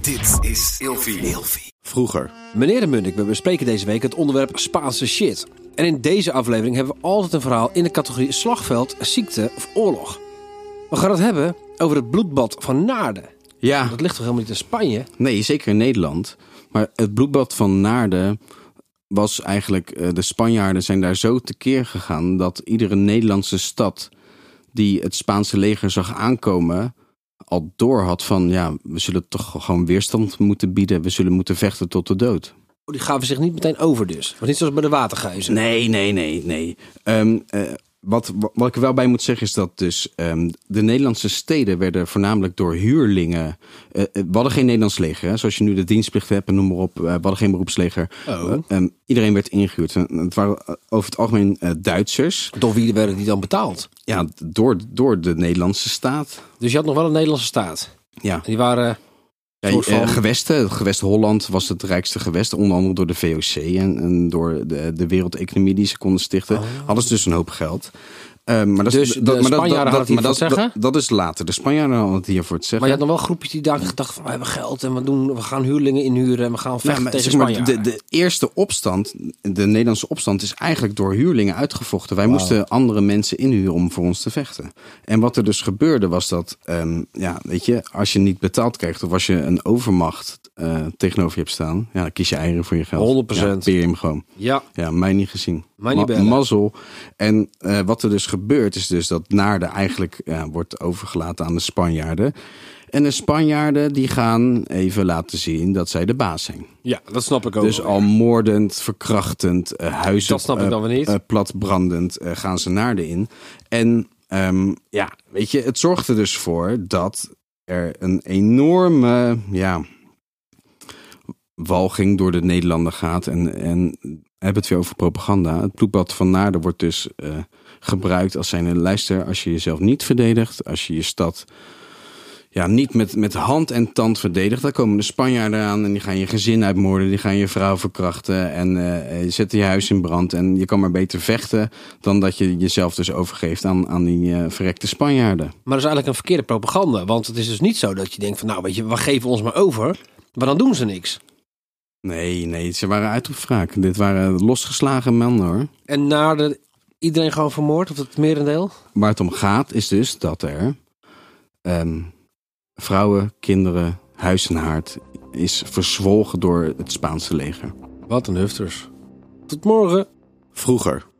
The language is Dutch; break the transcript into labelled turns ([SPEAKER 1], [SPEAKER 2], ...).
[SPEAKER 1] Dit is Ilfie.
[SPEAKER 2] Vroeger. Meneer de Munnik, we bespreken deze week het onderwerp Spaanse shit. En in deze aflevering hebben we altijd een verhaal in de categorie slagveld, ziekte of oorlog. We gaan het hebben over het bloedbad van Naarden.
[SPEAKER 3] Ja,
[SPEAKER 2] Dat ligt toch helemaal niet in Spanje? Oh,
[SPEAKER 3] nee, zeker in Nederland. Maar het bloedbad van Naarden was eigenlijk... eh, de Spanjaarden zijn daar zo tekeer gegaan... dat iedere Nederlandse stad die het Spaanse leger zag aankomen... al door had van, ja, we zullen toch gewoon weerstand moeten bieden. We zullen moeten vechten tot de dood.
[SPEAKER 2] Oh, Die gaven zich niet meteen over dus. Het was niet zoals bij de watergeuzen.
[SPEAKER 3] Nee, nee, nee, nee. Ehm, eh, wat, wat ik er wel bij moet zeggen is dat dus ehm, de Nederlandse steden werden voornamelijk door huurlingen. eh, eh, we hadden geen Nederlands leger, hè, zoals je nu de dienstplicht hebt en noem maar op. eh, we hadden geen beroepsleger.
[SPEAKER 2] Oh.
[SPEAKER 3] Eh, ehm, iedereen werd ingehuurd. En het waren eh, over het algemeen eh, Duitsers.
[SPEAKER 2] Door wie werden die dan betaald?
[SPEAKER 3] Ja, door, door de Nederlandse staat.
[SPEAKER 2] Dus je had nog wel een Nederlandse staat.
[SPEAKER 3] Ja,
[SPEAKER 2] En die waren...
[SPEAKER 3] ja
[SPEAKER 2] soort van-
[SPEAKER 3] eh, gewesten. Het gewest Holland was het rijkste gewest. Onder andere door de VOC en, en door de, de wereldeconomie die ze konden stichten. Hadden ze dus een hoop geld. Eh, maar dat,
[SPEAKER 2] Oh. Dus
[SPEAKER 3] is
[SPEAKER 2] de
[SPEAKER 3] dat, maar dat-
[SPEAKER 2] Spanjaarden
[SPEAKER 3] dat,
[SPEAKER 2] hadden
[SPEAKER 3] dat,
[SPEAKER 2] het
[SPEAKER 3] maar dat,
[SPEAKER 2] hiervoor te
[SPEAKER 3] dat, dat is later. De Spanjaarden hadden het hiervoor te
[SPEAKER 2] Maar
[SPEAKER 3] zeggen.
[SPEAKER 2] je had nog wel groepjes die daar gedacht van... we hebben geld en we, doen, we gaan huurlingen inhuren... en we gaan vechten
[SPEAKER 3] Ja, maar
[SPEAKER 2] tegen
[SPEAKER 3] zeg maar, de,
[SPEAKER 2] Spanje.
[SPEAKER 3] de eerste opstand, de Nederlandse opstand, is eigenlijk door huurlingen uitgevochten. Wij moesten andere mensen inhuren om voor ons te vechten. En wat er dus gebeurde was dat, ehm, ja, weet je, als je niet betaald krijgt of als je een overmacht eh, tegenover je hebt staan, ja, dan kies je eieren voor je geld.
[SPEAKER 2] 100%.
[SPEAKER 3] Ja, peer je hem gewoon.
[SPEAKER 2] Ja,
[SPEAKER 3] Ja, mij niet gezien.
[SPEAKER 2] Mij niet bellen.
[SPEAKER 3] mazzel. En eh, wat er dus gebeurt is dus dat Naarden eigenlijk ja, wordt overgelaten aan de Spanjaarden. En de Spanjaarden die gaan even laten zien dat zij de baas zijn.
[SPEAKER 2] ja, dat snap ik ook.
[SPEAKER 3] Dus al moordend, verkrachtend, eh, huizen
[SPEAKER 2] Oh. Dat snap ik
[SPEAKER 3] eh,
[SPEAKER 2] dan weer niet.
[SPEAKER 3] eh, platbrandend eh, gaan ze Naarden in. En ehm, ja, weet je, het zorgt er dus voor dat er een enorme, ja, walging door de Nederlanden gaat. En, en we hebben het weer over propaganda. Het bloedbad van Naarden wordt dus eh, gebruikt als zijn lijster. Als je jezelf niet verdedigt, als je je stad ja, niet met, met hand en tand verdedigt, dan komen de Spanjaarden aan en die gaan je gezin uitmoorden, die gaan je vrouw verkrachten en eh, eh, zetten je huis in brand. En je kan maar beter vechten dan dat je jezelf dus overgeeft aan, aan die eh, verrekte Spanjaarden.
[SPEAKER 2] Maar dat is eigenlijk een verkeerde propaganda. Want het is dus niet zo dat je denkt van... nou weet je, we geven ons maar over. Maar dan doen ze niks.
[SPEAKER 3] Nee, nee, ze waren uit op wraak. Dit waren losgeslagen mannen hoor.
[SPEAKER 2] En Naarden, iedereen gewoon vermoord? Of het merendeel?
[SPEAKER 3] Waar het om gaat is dus dat er ehm, vrouwen, kinderen, huis en haard is verzwolgen door het Spaanse leger.
[SPEAKER 2] Wat een hufters. Tot morgen.
[SPEAKER 3] Vroeger.